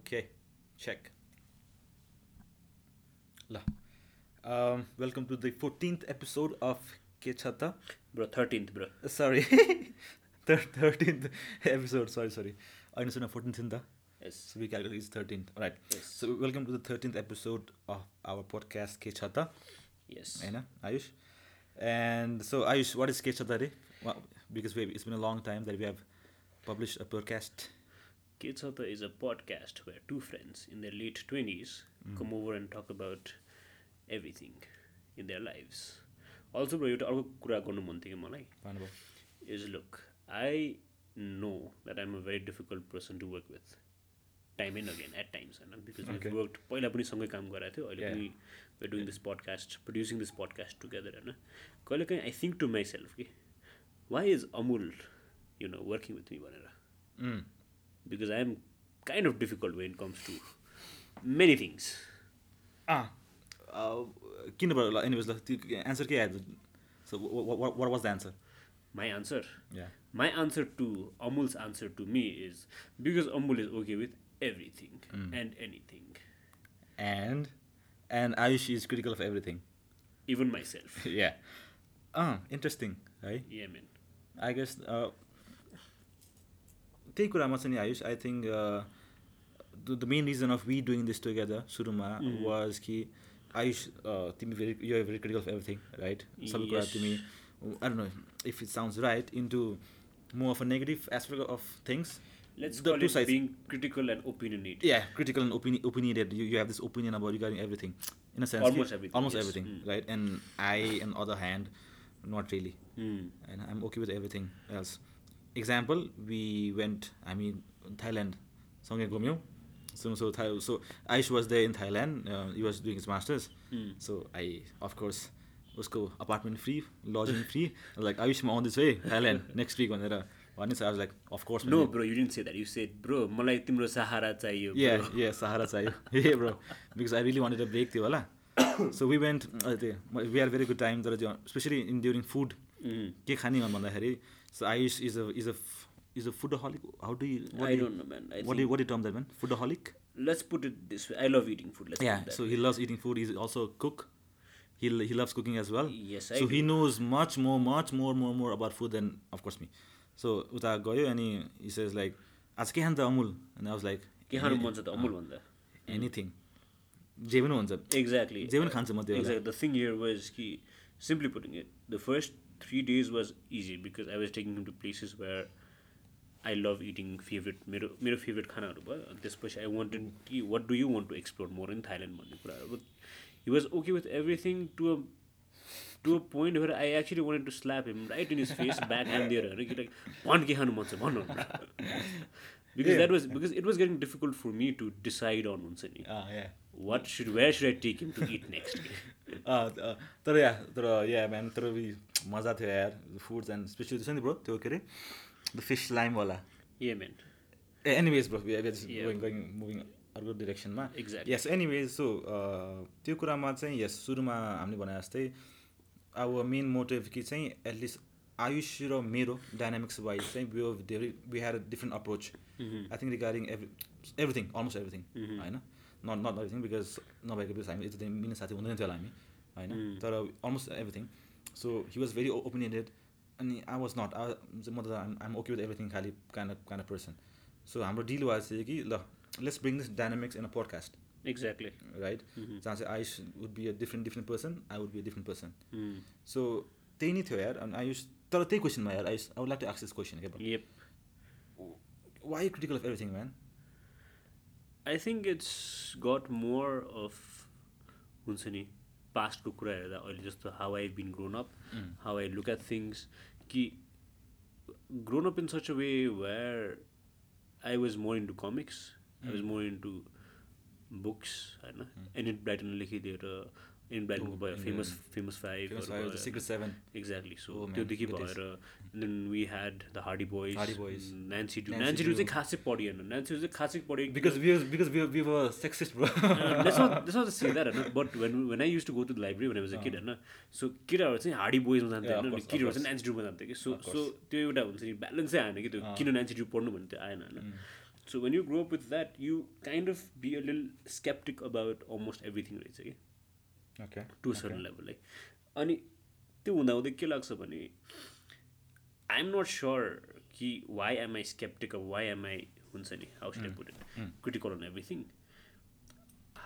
Okay, check. ल welcome to the fourteenth episode of के छ त bro thirteenth bro sorry thirteenth episode sorry sorry होइन सुन फोर्टिन्थ थियो नि त yes so we calculate is thirteenth right Yes. So welcome to the thirteenth episode of our podcast के छ त यस होइन Ayush and so Ayush what is के छ त अरे because we it's been a long time that we have publish a podcast के छ त is a podcast where two friends in their late twenties come over and talk about everything in their lifes also bro एउटा अर्को कुरा गर्नु मन थियो कि मलाई भन्नुभयो is look I know that I'm a very difficult person to work with time and again at times होइन बिकज Okay. वर्क पहिला पनि सँगै काम गराएको थियो अहिले Yeah. पनि we doing this podcast producing this podcast together होइन कहिले काहीँ I think to myself कि why is Amul you know working with me भनेर um, because I am kind of difficult when comes to many things uh, uh, किन भयो ल anyways ल त्यो एन्सर के आयो so what was the answer my answer yeah my answer to Amul's answer to me is because Amul is okay with everything Hmm. And anything and and Ayush is critical of everything even myself. Yeah uh interesting है Yeah, man. I guess uh, त्यही कुरामा चाहिँ नि Ayush uh, I think the main reason of we doing this together सुरुमा Mm-hmm. Was कि Ayush uh, तिमी very you are very critical of everything right सबै कुरा Yes. तिमी I don't know if it sounds right into more of a negative aspect of things Let's call it being critical and opinionated. yeah critical and opini- opinionated you, you have this opinion about regarding everything in a sense Almost everything, almost yes. everything Mm. right and i on the other hand not really Mm. and i'm okay with everything else example we went i mean thailand सँगै घुम्यौँ so so Thai, so Aish was there in Thailand uh, he was doing his masters Mm. so I of course उसको apartment free lodging free I was like Ayush I'm on this way Thailand next week भनेर भने so I was like of course man, No, bro, you didn't say that. You said, bro, मलाई तिम्रो सहारा चाहियो yeah bro." yeah सहारा चाहियो हे bro because I really wanted a break थियो होला सो वी वेन्ट त्यो we are very good time तर त्यो specially in during food Mm. के खाने हो भन्दाखेरि so Ayush is a is a is a foodholic how do I don't know, man. I what think, what term that man foodholic let's put it this way. I love eating food. Let's yeah put that. so he loves eating food he's also a cook he, he loves cooking as well Yes, I so he knows much more much more more more about food than of course me so उता गयो अनि he says like आज के खान्छ Amul and I was like के खानु मन छ त Ah. अमुल भन्दा एनिथिङ जे पनि हुन्छ Exactly. जे पनि खान्छु म त्यो बेला। Exactly. The thing here was he, simply putting it, the first three days was easy because I was taking him to places where I love eating favorite मेरो मेरो favorite खानाहरू भयो अनि त्यसपछि आई वान्टेड कि what do you want to explore more in Thailand भन्ने कुराहरू he was okay with everything to a to a point where I actually wanted to slap him right in his face back and दिएर होइन कि like भन के खानु मन छ भन्नु because that was because it was getting difficult for me to decide on हुन्छ नि अँ, Ah, yeah. what should where should I take him to eat next? अँ, त- तर या तर या म्याम तर we- मजा थियो यार फुड्स एन्ड स्पेसली छ नि ब्रो त्यो के अरे द फिस लाइमवाला yeah, man. ए anyways bro Yeah. Going moving अर्को डिरेक्सनमा Exactly. यस एनिवेज सो त्यो कुरामा चाहिँ यस सुरुमा हामीले भने जस्तै अब मेन मोटिभ कि चाहिँ एटलिस्ट आयुष र मेरो डाइनामिक्स वाइज चाहिँ वी धेरै we had a different approach Mm-hmm. I think regarding every everything almost everything होइन नट नट एभ्रिथिङ बिकज नभएको बिकज हामी यति मिल्ने साथी हुँदैन थियो होला हामी होइन तर almost everything so he was very opinionated अनि आई वाज नट आई म त आइम ओके विथ एभ्रिथिङ खालि kind kind of person so हाम्रो डिल वाज थियो कि ल let's bring this dynamics in a podcast Exactly. Right जहाँ चाहिँ Ayush would be a different different person I would be a different person Mm. So त्यही नै थियो यार अनि आयुष तर त्यही क्वेसनमा यार Ayush I would like to एक्स दिस क्वेसन के Yep. Why critical of everything man I think it's got more of हुन्छ नि पास्टको कुरा हेर्दा अहिले जस्तो how I been grown up Hmm. How I look at things कि grown up in such a way where I was more into comics I Hmm. Was more into books होइन Enid Blyton लेखिदिएर Enid ब्राइटनको भयो famous famous Oh, Famous Five, The Secret Seven. Exactly Oh, so man, त्योदेखि it is. भएर then we had the Hardy Boys Hardy Boys. Nancy Drew Nancy Nancy Drew Drew. चाहिँ खासै पढिएन Nancy Drew चाहिँ खासै पढिएन because because we were sexist bro Uh, let's not let's not say that, होइन? but when when I used to go to the library when I was a kid, होइन? so केटाहरू चाहिँ Hardy बोइजमा जान्थ्यो Uh-huh. Yeah, of होइन अनि course, of केटीहरू course. चाहिँ Uh-huh. Mm. नान्सी ड्रुमा जान्थ्यो कि सो सो त्यो एउटा हुन्छ नि ब्यालेन्सै आएन कि त्यो किन नान्सी ड्रु पढ्नु भन्ने त्यो आएन होइन So when you grow up with that, you kind of be a little skeptic about almost everything रहेछ कि Okay. टु सर्टन लेभल है अनि त्यो हुँदाहुँदै के लाग्छ भने आई एम नट स्योर कि why am I skeptic of why am I हुन्छ नि how should I put it critical on everything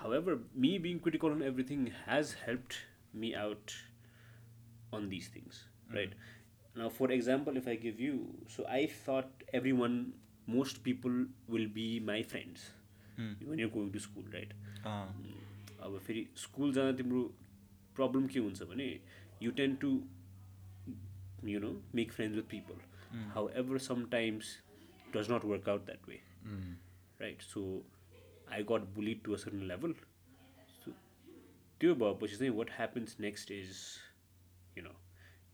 however me being critical on everything has helped me out on this things right now for example if I give you so I thought every one most people will be my friends when you going to school right Uh, अब फेरि स्कुल जाँदा तिम्रो problem के हुन्छ भने you tend to you know make friends with people however sometimes does not work out that way right so I got bullied to a certain level so त्यो भएपछि चाहिँ what happens next is you know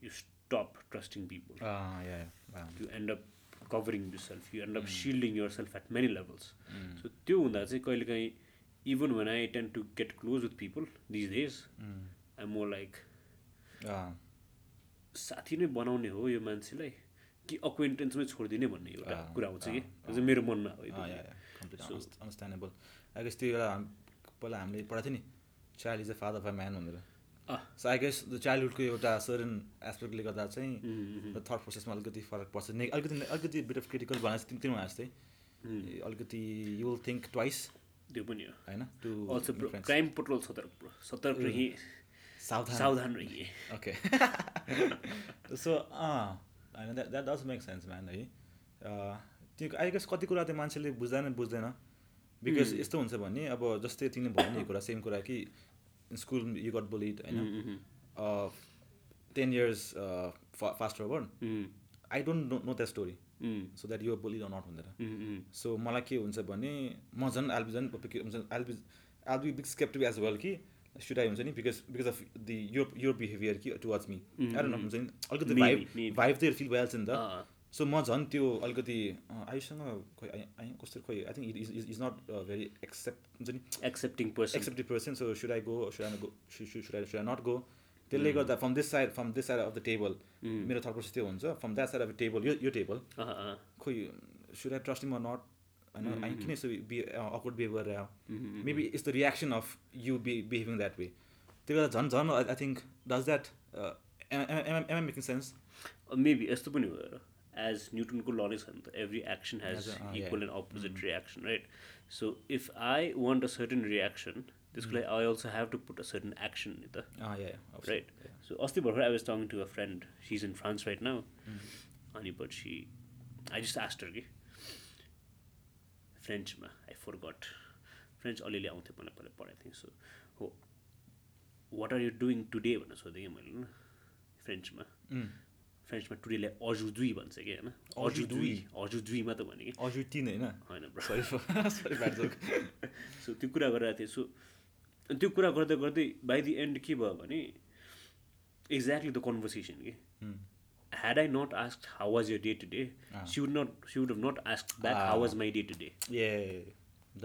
you stop trusting people uh, yeah. Wow. you end up covering yourself you end up shielding yourself at many levels so त्यो हुँदा चाहिँ कहिलेकाहीँ even when I tend to get close with people these days I'm more like Uh, साथी नै बनाउने हो यो मान्छेलाई कि अक्वेन्टेन्समै छोडिदिने भन्ने एउटा अँ, कुरा आउँछ कि अँ, त्यो चाहिँ मेरो मनमा हो अँ, एकदमै। ah, yeah, yeah. Completely So- underst- understandable. I guess त्यो एउटा हाम- पहिला हामीले पढाएको थियो नि child is the father of a man भनेर अँ। सो आई गेस द चाइल्डहुडको एउटा सर्टन एस्पेक्टले गर्दा चाहिँ द थट प्रोसेसमा अलिकति फरक पर्छ ने अलिकति अलिकति बिट अफ क्रिटिकल भने जस्तै तिमीमा जस्तै ए, अलिकति यु विल थिङ्क ट्वाइस त्यो पनि हो होइन टु अल्सो क्राइम पेट्रोल सतर्क सतर्क रहिए सावधान सावधान रहिए ओके सो ah, होइन that that does make sense man है अँ, त्यो आई गेस कति कुरा त्यो मान्छेले बुझ्दैन बुझ्दैन बिकज यस्तो हुन्छ भने अब जस्तै तिमीले भन्यो नि यो कुरा सेम कुरा कि स्कुल यु गट बोलिड होइन Uh, ten years fast forward um, I don't know that story um, so that you bullied not भनेर उम्, उम्, सो मलाई के हुन्छ भने म झन् आलबी झन् आलबी आलबी बिग स्केप्टिभ एज वेल कि सुड आई हुन्छ नि बिकज बिकज अफ दि यो यो बिहेभियर कि टुवर्ड्स मी आएर हुन्छ नि अलिकति Maybe, भाइभ maybe. भाइभ चाहिँ फिल भइहाल्छ नि अँ, त सो म झन् त्यो अलिकति अँ, आयुसँग खोइ आइ आइ कस्तो खोइ I think is is not very accept हुन्छ नि accepting person acceptive person so should I go should I go should I not go त्यसले गर्दा from this side from this side of the table मेरो third process त्यो हुन्छ from that side of the table यो यो table अँ, अँ, खोइ should I trust him not Mm-hmm. होइन आई किन यसो बि अकवर्ड बिहेभ गरेर आयो maybe it's the reaction of you be behaving that way त्यो बेला झन् झन् I think does that um um making sense maybe यस्तो पनि भयो एज न्युटनको ल नै छ नि त every action has Has a- uh, equal and opposite reaction right so if I want a certain reaction त्यसको लागि I also have to put a certain action नि त राइट सो अस्ति भर्खर I was talking to a friend she is in France right now अनि पछि I just asked her कि फ्रेन्चमा आई फोर गट फ्रेन्च अलिअलि आउँथ्यो मलाई पहिला पढाएको थिएँ सो हो what are you doing today भनेर सोधेँ कि मैले ल फ्रेन्चमा फ्रेन्चमा टुडेलाई अजुदुई भन्छ कि होइन अजुदुई अजुदुई मात्र भने कि हजुर तिन होइन होइन bro sorry sorry bad joke so त्यो कुरा गरिरहेको थिएँ सो अनि त्यो कुरा गर्दा गर्दै बाई दि एन्ड के भयो भने एक्ज्याक्टली द कन्भर्सेसन कि had I not ask how was your day today she would not she would not ask back how was my day today a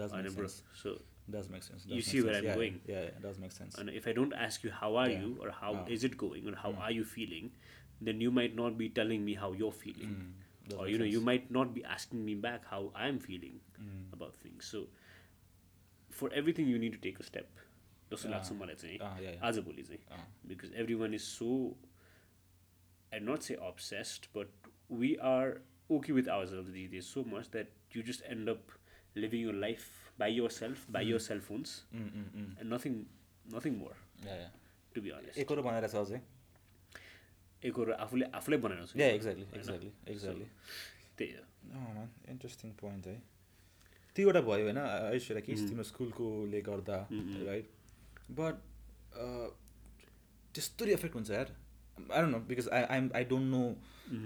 does make होइन bro sense so does make sense You see where I'm going. Does make sense And if I don't ask you how are you or how is it going or how are you feeling, then you might not be telling me how you're feeling. Mm, Does Hmm. make Or Oh, you know, you might not be asking me back how I'm feeling Mm. about things. So for everything you need to take a step. जस्तो लाग्छ मलाई Ah, yeah, चाहिँ yeah. आजभोलि चाहिँ because everyone is so I not say obsessed but we are okay with our self these is so much that you just end up living your life by yourself by yourself हुन्स Mm, and nothing nothing more to be honest एकरो बनाएर छ अझै एकहरू आफूले आफूलाई बनाएको छु या एक्ज्याक्टली एक्ज्याक्टली एक्ज्याक्टली त्यही हो इन्ट्रेस्टिङ पोइन्ट है त्यो एउटा भयो होइन ऐश्वर्या कि तिम्रो स्कुलकोले गर्दा राइट बट त्यस्तो इफेक्ट हुन्छ यार I don't know because I I'm I don't know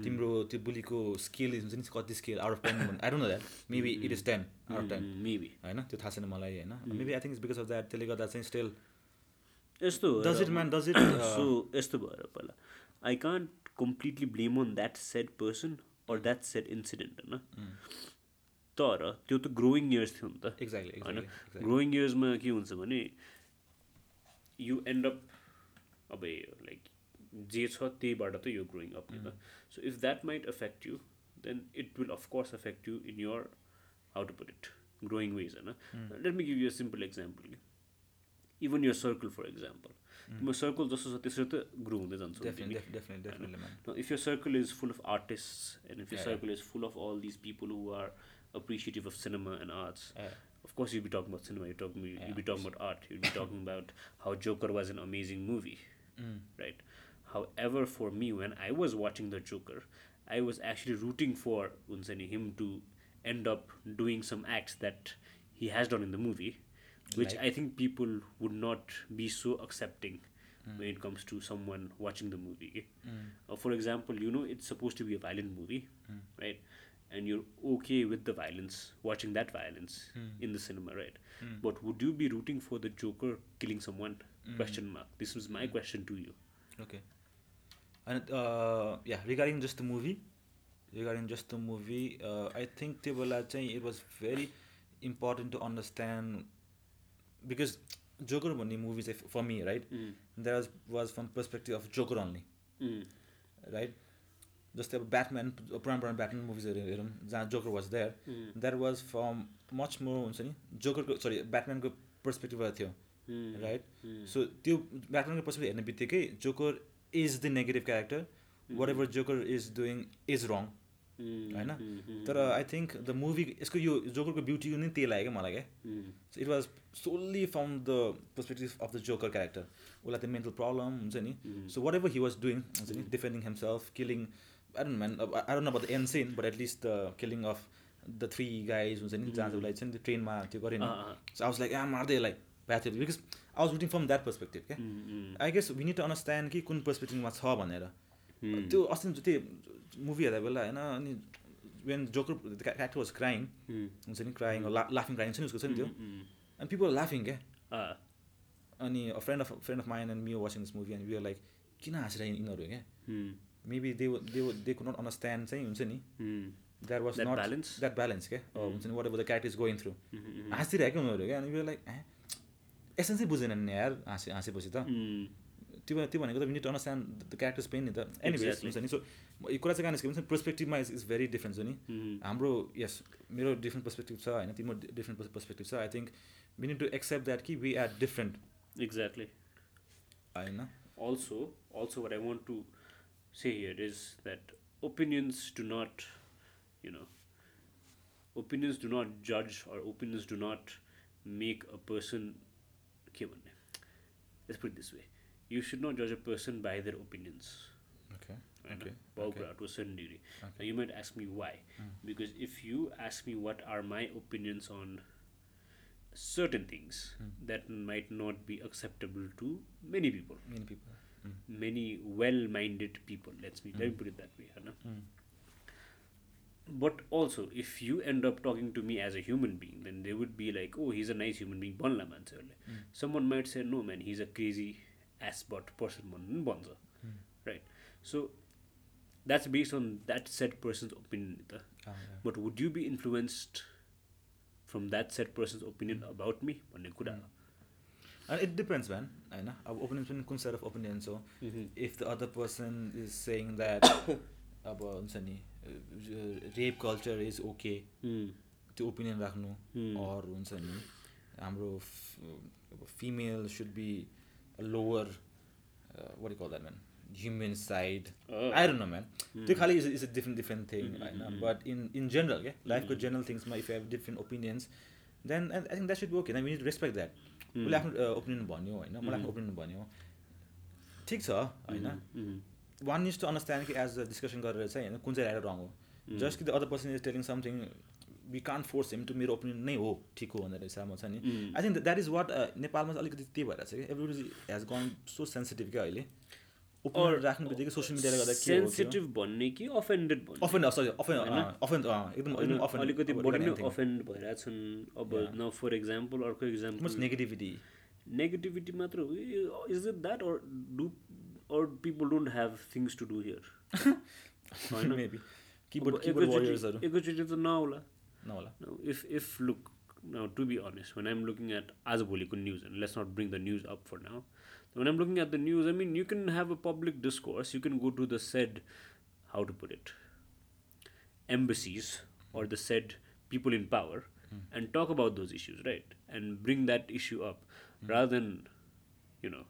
तिम्रो त्यो बुलीको स्केल हुन्छ नि कति scale out of ten I don't know that maybe it is ten out of ten maybe होइन त्यो थाहा छैन मलाई होइन maybe I think it's because of that त्यसले गर्दा चाहिँ स्टिल यस्तो हो डज र- it man does it so यस्तो भएर पहिला I can't completely blame on that said person or that said incident होइन तर त्यो त ग्रोइङ इयर्स थियो नि त एक्ज्याक्टली होइन एक्ज्याक्टली ग्रोइङ इयर्समा के हुन्छ भने यु एन्ड अप अब लाइक जे छ त्यहीबाट त यो ग्रोइङ अप नि त so if that might affect you then it will of course affect you in your how to put it growing ways होइन let me give you simple example कि इभन यो सर्कल फर इक्जाम्पल तिम्रो circle जस्तो छ त्यसरी त grow हुँदै जान्छ Definitely, def- definitely, definitely, man. Now, if your circle is full of artists and if your circle is full of all these people who are appreciative of cinema and arts, of course you'll be talking about cinema, you'll, talking, you'll, be talking about art, you'll be talking about how Joker was an amazing movie, right? However, for me, when I was watching The Joker, I was actually rooting for Unsani, him to end up doing some acts that he has done in the movie, which I think people would not be so accepting when it comes to someone watching the movie. okay? Uh, for example, you know it's supposed to be a violent movie, right? And you're okay with the violence, watching that violence in the cinema, right? But would you be rooting for the Joker killing someone? Question mark. This was my question to you. Okay. And uh, yeah, regarding just the movie, regarding just the movie, uh, I think त्यो बेला चाहिँ it was very important to understand because Joker भन्ने movie चाहिँ for me right, there was was from perspective of Joker only, Mm. right. जस्तै अब Batman पुरानो पुरानो Batman मुभिजहरू हेरौँ जहाँ Joker was there that was from much more हुन्छ नि जोकरको सरी ब्याटम्यानको पर्सपेक्टिभबाट थियो राइट Mm. So Hmm. त्यो ब्याटम्यानको पर्सपेक्टिभ हेर्ने बित्तिकै Joker is the negative character whatever Joker is doing is wrong Mm. होइन Hmm. तर आई थिङ्क द मुभी यसको यो जोकरको ब्युटी नै त्यही लाग्यो क्या मलाई क्या Mm. So it was solely from the perspective of the Joker character उसलाई त्यो मेन्टल प्रब्लम हुन्छ नि Hmm. Mm. So whatever he was doing हुन्छ नि defending himself killing I don't man I don't about the end scene but at least the killing of the three guys हुन्छ नि जहाँ चाहिँ उसलाई चाहिँ त्यो ट्रेनमा त्यो गरेन Uh-huh. So I was like यहाँ मार्दै यसलाई भएको थियो because I was waiting from that perspective क्या Mm. I guess we need to understand कि कुन पर्सपेक्टिभमा छ भनेर Mm. त्यो अस्ति त्यो मुभी हेर्दा बेला होइन अनि when Joker character was crying Mm. हुन्छ नि क्राइङ लाफिङ क्राइङ छ नि उसको छ नि त्यो Mm-hmm. एन्ड पिपल लाफिङ क्या Ah, अनि friend of friend of mine and me watching this movie and we are like किन हाँसेर यिनीहरू क्या mm. Maybe they they they could not understand चाहिँ हुन्छ नि hmm. That was That not balance? Mm-hmm. That balance क्या uh, हुन्छ नि whatever the character is going through हाँसिरहेको क्या उनीहरू क्या अनि वी आर लाइक ए एसेन्सै बुझेनन् नि यार हाँसे हाँसेपछि त Hmm. त्यो भए- त्यो भनेको त minute understand the characters pain नि त एनिवेज Exactly. हुन्छ नि सो यो कुरा चाहिँ कहाँ निस्क्यो भने पर्सपेक्टिभमा इज इज भेरी डिफ्रेन्ट छ नि Mm. Mm-hmm. हाम्रो यस मेरो डिफ्रेन्ट पर्सपेक्टिभ छ होइन तिम्रो डिफ्रेन्ट पर्सपेक्टिभ छ I think we need to accept that कि वी आर डिफ्रेन्ट Exactly. होइन also also what i want to say here is that opinions do not you know opinions do not judge or opinions do not make a person के भन्ने? let's put it this way you should not judge a person by their opinions okay होइन? Okay Bow brow to a certain degree. Now you might ask me why, because if you ask me what are my opinions on certain things that might not be acceptable to many people, many people many well-minded people. Let's me let me put it that way, Hannah. Hmm. But also, if you end up talking to me as a human being, then they would be like, "Oh, he's a nice human being." Banla Hmm. mm. Someone might say, "No, man, he's a crazy ass butt person." भन्नु पनि भन्छ, Hmm. Right. So that's based on that said person's opinion. नि त। But would you be influenced from that said person's opinion Hmm. about me? भन्ने कुरा हो। Mm. And it depends, man. I know. Our opinions when concern of opinions. So if the other person is saying that about Unsani, uh, rape culture is okay, Mm. to opinion rakhnu Hmm. or Unsani, amro female should be a lower, uh, what do you call that, man? Human side. Oh. I don't know, man. The khali is a, is a different different thing. I know. But in in general, yeah, life ko general things. ma, If you have different opinions, then I I think that should be okay. And we need to respect that. उसले आफ्नो opinion भन्यो होइन मलाई आफ्नो opinion भन्यो ठिक छ होइन Mm. One is to understand कि एज अ डिस्कसन गरेर चाहिँ होइन कुन चाहिँ राइट रङ हो जस्ट कि the other person is telling something we can force him to मेरो ओपिनियन नै हो ठिक हो भनेर हिसाबमा छ नि Mm. Hmm. I think that is what नेपालमा चाहिँ अलिकति त्यही भएर छ कि everybody has gone so sensitive क्या अहिले ओपिनियन राख्नु बित्तिकै सोसियल मिडियाले गर्दा के हो सेन्सिटिभ भन्ने कि अफेन्डेड भन्ने अफेन्ड सरी अफेन्ड अफेन्ड एकदम एकदम होइन, अफेन्ड अलिकति बढी नै अफेन्ड भइरहेको छन् अब न फर इक्जाम्पल अर्को इक्जाम्पल मच नेगेटिभिटी नेगेटिभिटी मात्र हो is it that or do or people don't have things to do here maybe keyboard keyboard वारियर्सहरू एकैचोटि त नहोला नहोला if if look now to be honest one I'm looking at आजभोलिको news and let's not bring the news up for now one I'm looking at the news I mean you can have a public discourse you can go to the said how to put it embassies or the said people in power and talk about those issues, right? And bring that issue up rather than, you know,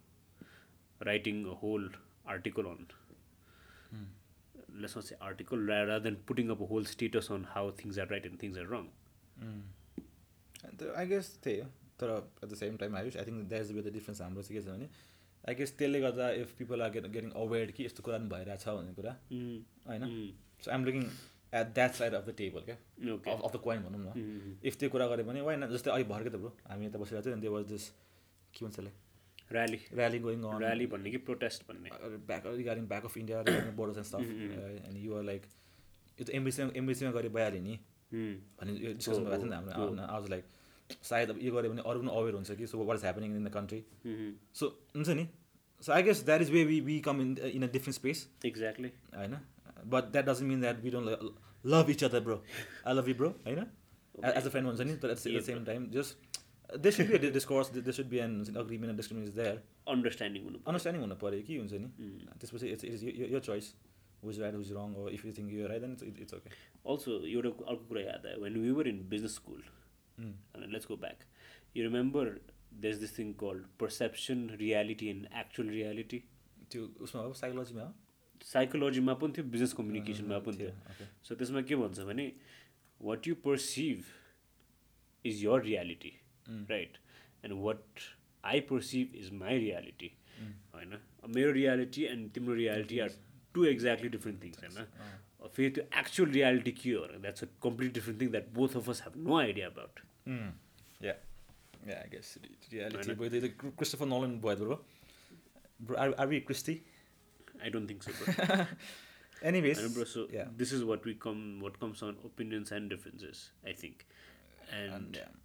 writing a whole article on. Let's not say article ra- rather than putting up a whole status on how things are right and things are wrong. अन्त I guess त्यही हो तर at the same time Ayush I think that is with the difference हाम्रो चाहिँ के छ भने I guess त्यसले गर्दा if people are get getting aware कि यस्तो कुरा पनि भइरहेछ भन्ने कुरा Mm. होइन Mm. So I'm looking at that side of the table क्या Okay. अफ द कोइन भनौँ न इफ त्यो कुरा गऱ्यो भने वाइन जस्तै अहिले भर्कै त ब्रो हामी यता बसिरहेको थियो दे वाज दिस के भन्छ त्यसलाई Rally. Rally going on Rally भन्ने कि protest भन्ने back regarding back of India regarding borders and stuff and you're like यो त एमबिसीमा एमबिसीमा गरे भइहाल्यो नि Mm. भन्ने यो डिस्कसन भएको थियो नि त हाम्रो आज लाइक सायद अब यो गऱ्यो भने अरू पनि अवेर हुन्छ कि so what is happening in the country Mhm. So हुन्छ नि so I guess that is way we we come in in a different space Exactly. होइन but that doesn't mean that we don't love each other bro I love you bro होइन as a friend हुन्छ नि तर at the same time just they should be discuss they should be an agreement discriminate is द्यार Understanding हुनु understanding हुनु पऱ्यो कि हुन्छ नि Mm. त्यसपछि इट्स इट्स यो choice which right which wrong if you think you right then it's okay Also, एउटा कु- अर्को कुरा याद आयो when we were in business school, and let's go back. You remember there's this thing called perception, reality, and actual reality. त्यो उसमा हो साइकोलोजीमा हो साइकोलोजीमा पनि थियो बिजनेस कम्युनिकेसनमा पनि थियो, थियो okay. सो त्यसमा के भन्छ भने what you perceive is your reality right and what I perceive is my reality होइन मेरो रियालिटी एन्ड तिम्रो reality are two exactly different things होइन अब फेरि त्यो एक्चुअल रियालिटी के हो भने that's a complete different thing that both of us have no idea about Mm. Yeah. Yeah, I guess re- reality. But the, the Chr- Christopher Nolan boy, bro. bro are, are we Christy? I don't think so Anyways. होइन bro so yeah. This is what we come what comes on opinions and differences I think And, and yeah.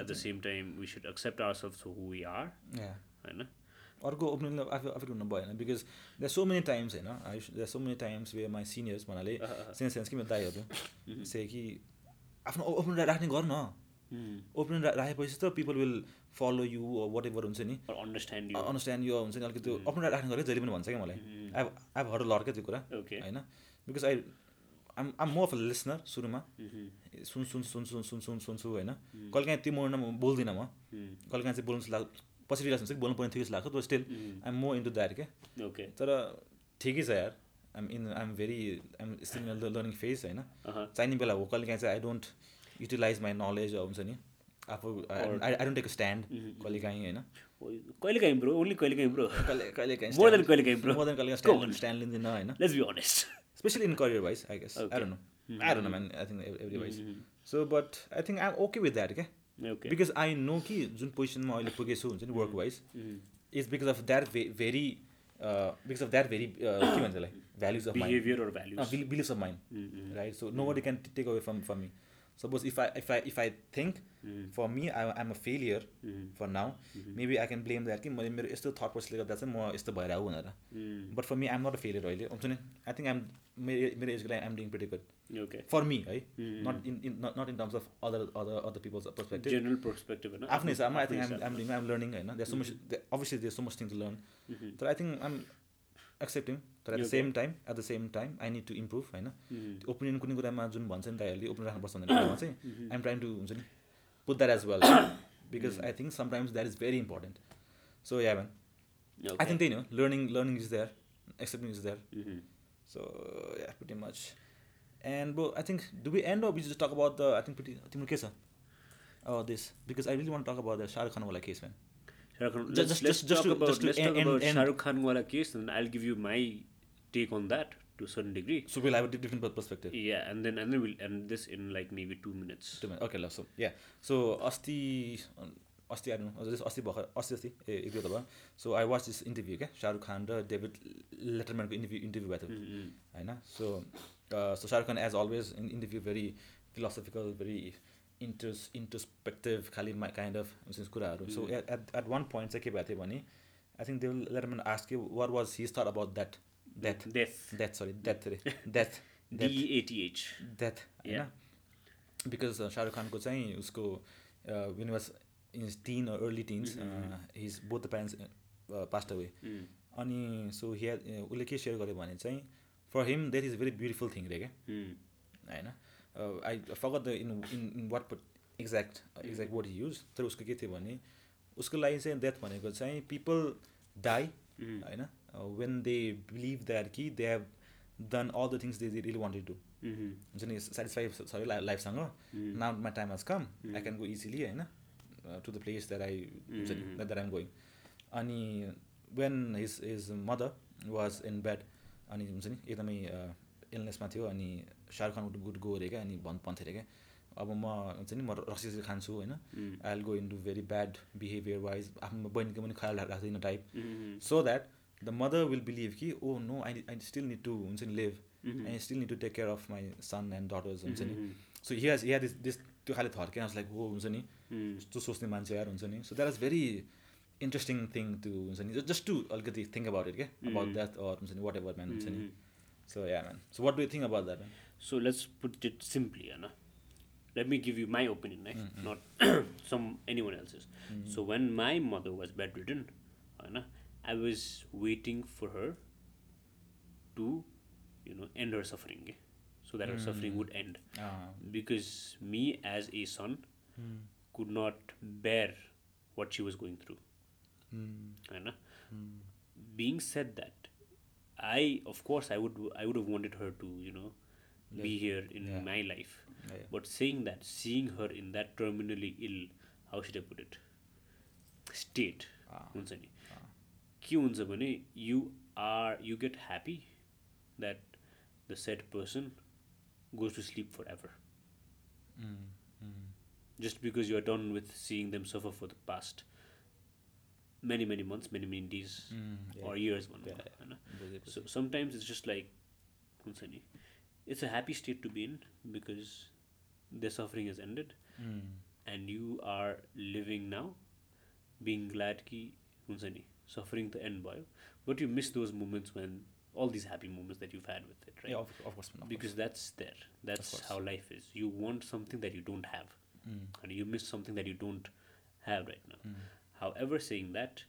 at the same time we should accept ourselves for who we are yeah. I know अर्को opinion आफै आफै हुनु भएन because there so many times होइन I there so many times way my seniors भन्नाले sense sense कि मेरो दाईहरू से कि आफ्नो ओपिनियन राख्ने गर न ओपिनियन राखेपछि त people will follow you whatever हुन्छ नि or understand you अन्डरस्ट्यान्ड यो हुन्छ नि अलिकति त्यो अपना राख्ने गरेर जहिले पनि भन्छ क्या मलाई आई आई हर लड क्या त्यो कुरा Okay. होइन बिकज आई आम आम म अफ लिसनर सुरुमा Mm-hmm. सुन सुन सुन सुन सुन सुन सुन्छु होइन Mm. कहिले काहीँ त्यो मोडमा म बोल्दिनँ म कहिले काहीँ चाहिँ बोल्नु जस्तो लाग्छ पछि रिलास हुन्छ कि बोल्नु पर्ने थियो जस्तो लाग्छ तर still Mm. I am more into that क्या okay तर ठिकै छ यार I'm in I'm very I'm still learning phase होइन Uh-huh. चाहिने बेला हो कहिले काहीँ चाहिँ I don't utilize my knowledge हुन्छ नि uh, आफू I don't take stand Mm-hmm. कहिले काहीँ होइन कहिले काहीँ ब्रो ओन्ली कहिले काहीँ ब्रो कहिले कहिले काहीँ More than कहिलेकाहीँ, bro. मोर देन कहिले स्ट्यान्ड स्ट्यान्ड लिँदैन होइन let's be honest specially in career wise I guess I don't know I don't know man I think every wise so but I think I am okay with that क्या okay because I know कि जुन पोजिसनमा अहिले पुगेछु हुन्छ नि work wise is because of that very because of that very के भन्छ त्यसलाई values of mind behavior or values Mm-hmm. Beliefs of mind right so nobody can take away from from me suppose if I if I if I think Mm-hmm. For me I I'm a failure for now maybe I can blame that कि मैले मेरो यस्तो thought प्रोसेसले गर्दा चाहिँ म यस्तो भएर आऊ भनेर Mm, but for me I'm not a failure अहिले हुन्छ नि आई थिङ्क आइम मेरो मेरो एजको लागि I'm doing pretty good okay for me है not in in not in terms of other other other peoples perspective general perspective होइन आफ्नो हिसाबमा I think I'm I'm doing I'm learning होइन there so much obviously there so much thing to learn तर I think I'm accepting तर at the same time at the same time I need to improve होइन त्यो opinion कुनै कुरामा जुन भन्छ नि दाइहरूले ओपिनियन राख्नुपर्छ भन्ने कुरामा चाहिँ आइम ट्राइङ टु हुन्छ नि put that as well because I think sometimes that is very important so yeah man I okay think त्यही नै हो learning learning is there accepting is there Mhm. So yeah, pretty much. And bro, I think do we end or we just talk about the I think pretty Timur Kesa? Oh, this because I really want to talk about the Shah Rukh Khan wala case, man. Shah Rukh Khan- Ju- let's, just- let's just- talk just to- about just to let's talk end- about end- Shah Rukh Khan wala case and I'll give you my take on that to a certain degree So we'll have a di- different per- perspective. yeah and then and then we'll end this in like maybe two minutes Two minutes. Okay, love. So yeah. So Asti, um, Asti, I don't know. This Asti Bhakar, Asti Asti. eh, if you're the one. So I watched this interview, okay? Shah Rukh Khan, र David Letterman को interview interview भएको थियो. होइन So uh, so Shah Rukh Khan, as always, in interview very philosophical, very intros introspective खालि my kind of हुन्छ नि कुराहरू so at at one point चाहिँ के भएको थियो भने I think Dave Letterman ask you what was his thought about that that death that sorry that अरे that D E A T H that होइन uh, बिकज शाहरुख खानको चाहिँ उसको when was in teen early teens his both the parents passed away अनि सो he उसले के share गर्यो भने चाहिँ for him that is very beautiful thing रे क्या Mm. होइन uh, I forgot the in in, in what put- exact uh, exact what he used तर उसको के थियो भने उसको लागि चाहिँ डेथ भनेको चाहिँ पिपल डाई होइन Uh, when they believe that कि they have done all the things they they really wanted to Mm-hmm. हुन्छ नि सेटिस्फाई सबै लाइफसँग now my time has come I can go easily होइन Uh, to the place that I हुन्छ नि that I'm going अनि when his his mother was in bad अनि हुन्छ नि एकदमै इलनेसमा थियो अनि शाहरुख खान गुड गो अरे क्या अनि भन् भन्थे अरे क्या अब म हुन्छ नि म रक्सी खान्छु होइन I will go into very bad behaviour wise आफ्नो बहिनीको पनि ख्याल राख- राख्दैन type Mm-hmm. So that the mother will believe कि oh no I I still need to हुन्छ नि live Mm-hmm. I still need to take care of my son and daughters हुन्छ नि so he has he this this त्यो खाले थर्केन like हो हुन्छ नि Mm-hmm. यस्तो सोच्ने मान्छे यार हुन्छ नि so that is very interesting thing to हुन्छ नि जस्ट टु अलिकति थिङ्क अबाउट इट क्या अबाउट Mm-hmm. द्याट अर हुन्छ नि वाट एभर म्यान हुन्छ नि so yeah man so what do think about that So let's put it simply, Anna. Let me give you my opinion, right? not some anyone else's. So when my mother was bedridden, Anna, I was waiting for her to, you know, end her suffering, eh, so that her suffering would end. Ah, Because me as a son could not bear what she was going through. mm, होइन being said that i of course i would i would have wanted her to you know be here in my life Yeah. but saying that seeing her in that terminally ill how should i put it state Ah, हुन्छ नि के हुन्छ भने you are you get happy that the sad person goes to sleep forever Mm-hmm. mm, just because you are done with seeing them suffer for the past many many months many many days mm, or years one होइन? so sometimes it's just like हुन्छ नि, it's a happy state to be in because their suffering has ended Mm. and you are living now being glad ki हुन्छ नि, suffering the end भयो but you miss those moments when all these happy moments that you've had with it right because that's there that's how life is you want something that you don't have Mm. and you miss something that you don't have right now however saying that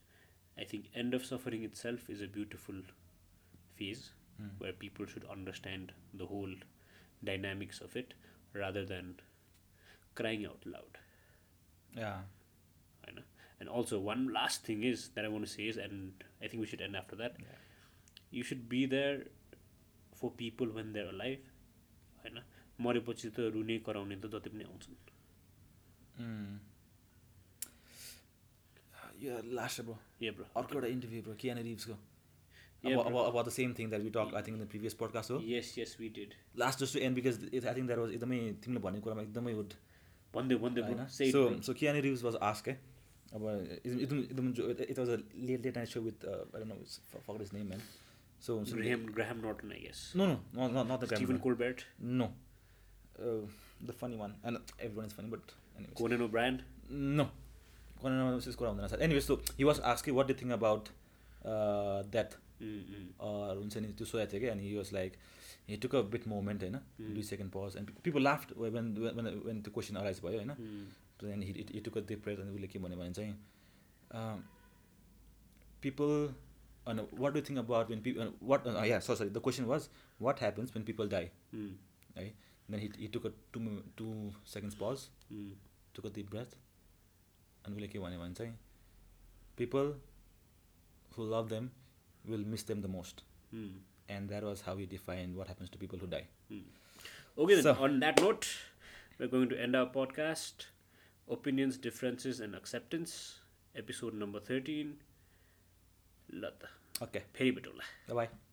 i think end of suffering itself is a beautiful phase where people should understand the whole dynamics of it rather than crying out loud I know. And also, one last thing is that I want to say is, and I think we should end after that. You should be there for people when they're alive. होइन मरेपछि त रुने कराउने त जति पनि आउँछन् Mm. यो last bro Yeah, bro. अर्को एउटा इन्टरभ्यू ब्रो कियान रिभ्सको Yeah, अब अब अब the same thing that we talk I think the previous podcast हो Yes, yes, we did. Last just to end because I think that was एकदमै तिमीले भनेको कुरामा एकदमै वुड भन्दै भन्दै होइन भन्दै say it, so bro. So Keanu Reeves was ask है अब एकदम एकदम एकदम जो it was a late late night so with fucked is name man so हुन्छ नि- Graham, Graham Norton, I guess. No, no, no, not the Stephen Stephen Colbert, No. Uh, the funny one. And everyone is funny, but anyways. Conan O'Brien. No. Conan O'Brien is Conan O'Brien. Anyway, so he was asking what do you think about uh, death? Mm, Mm-mm. or हुन्छ नि त्यो सोधेको थियो कि अनि was like he took a bit moment होइन दुई second pause and people laughed when when when त्यो क्वेसन अराइज भयो होइन Hmm. Mm, अनि हि टुक अ डिप्रेस अनि उसले के भन्यो भने चाहिँ um, पिपल अनि what do think about when people what yeah sorry sorry the question was what happens when people die Mm. है then he he took a two two seconds pause Mm. Took a deep breath अनि उसले के भन्यो भने चाहिँ people who love them will miss them the most Mm. and that was how we defined what happens to people who die. Mm. Okay, then, So- on that note, we're going to end our podcast Opinions, Differences, and Acceptance, episode number 13. Lata. Okay, Peri Betola. bye bye.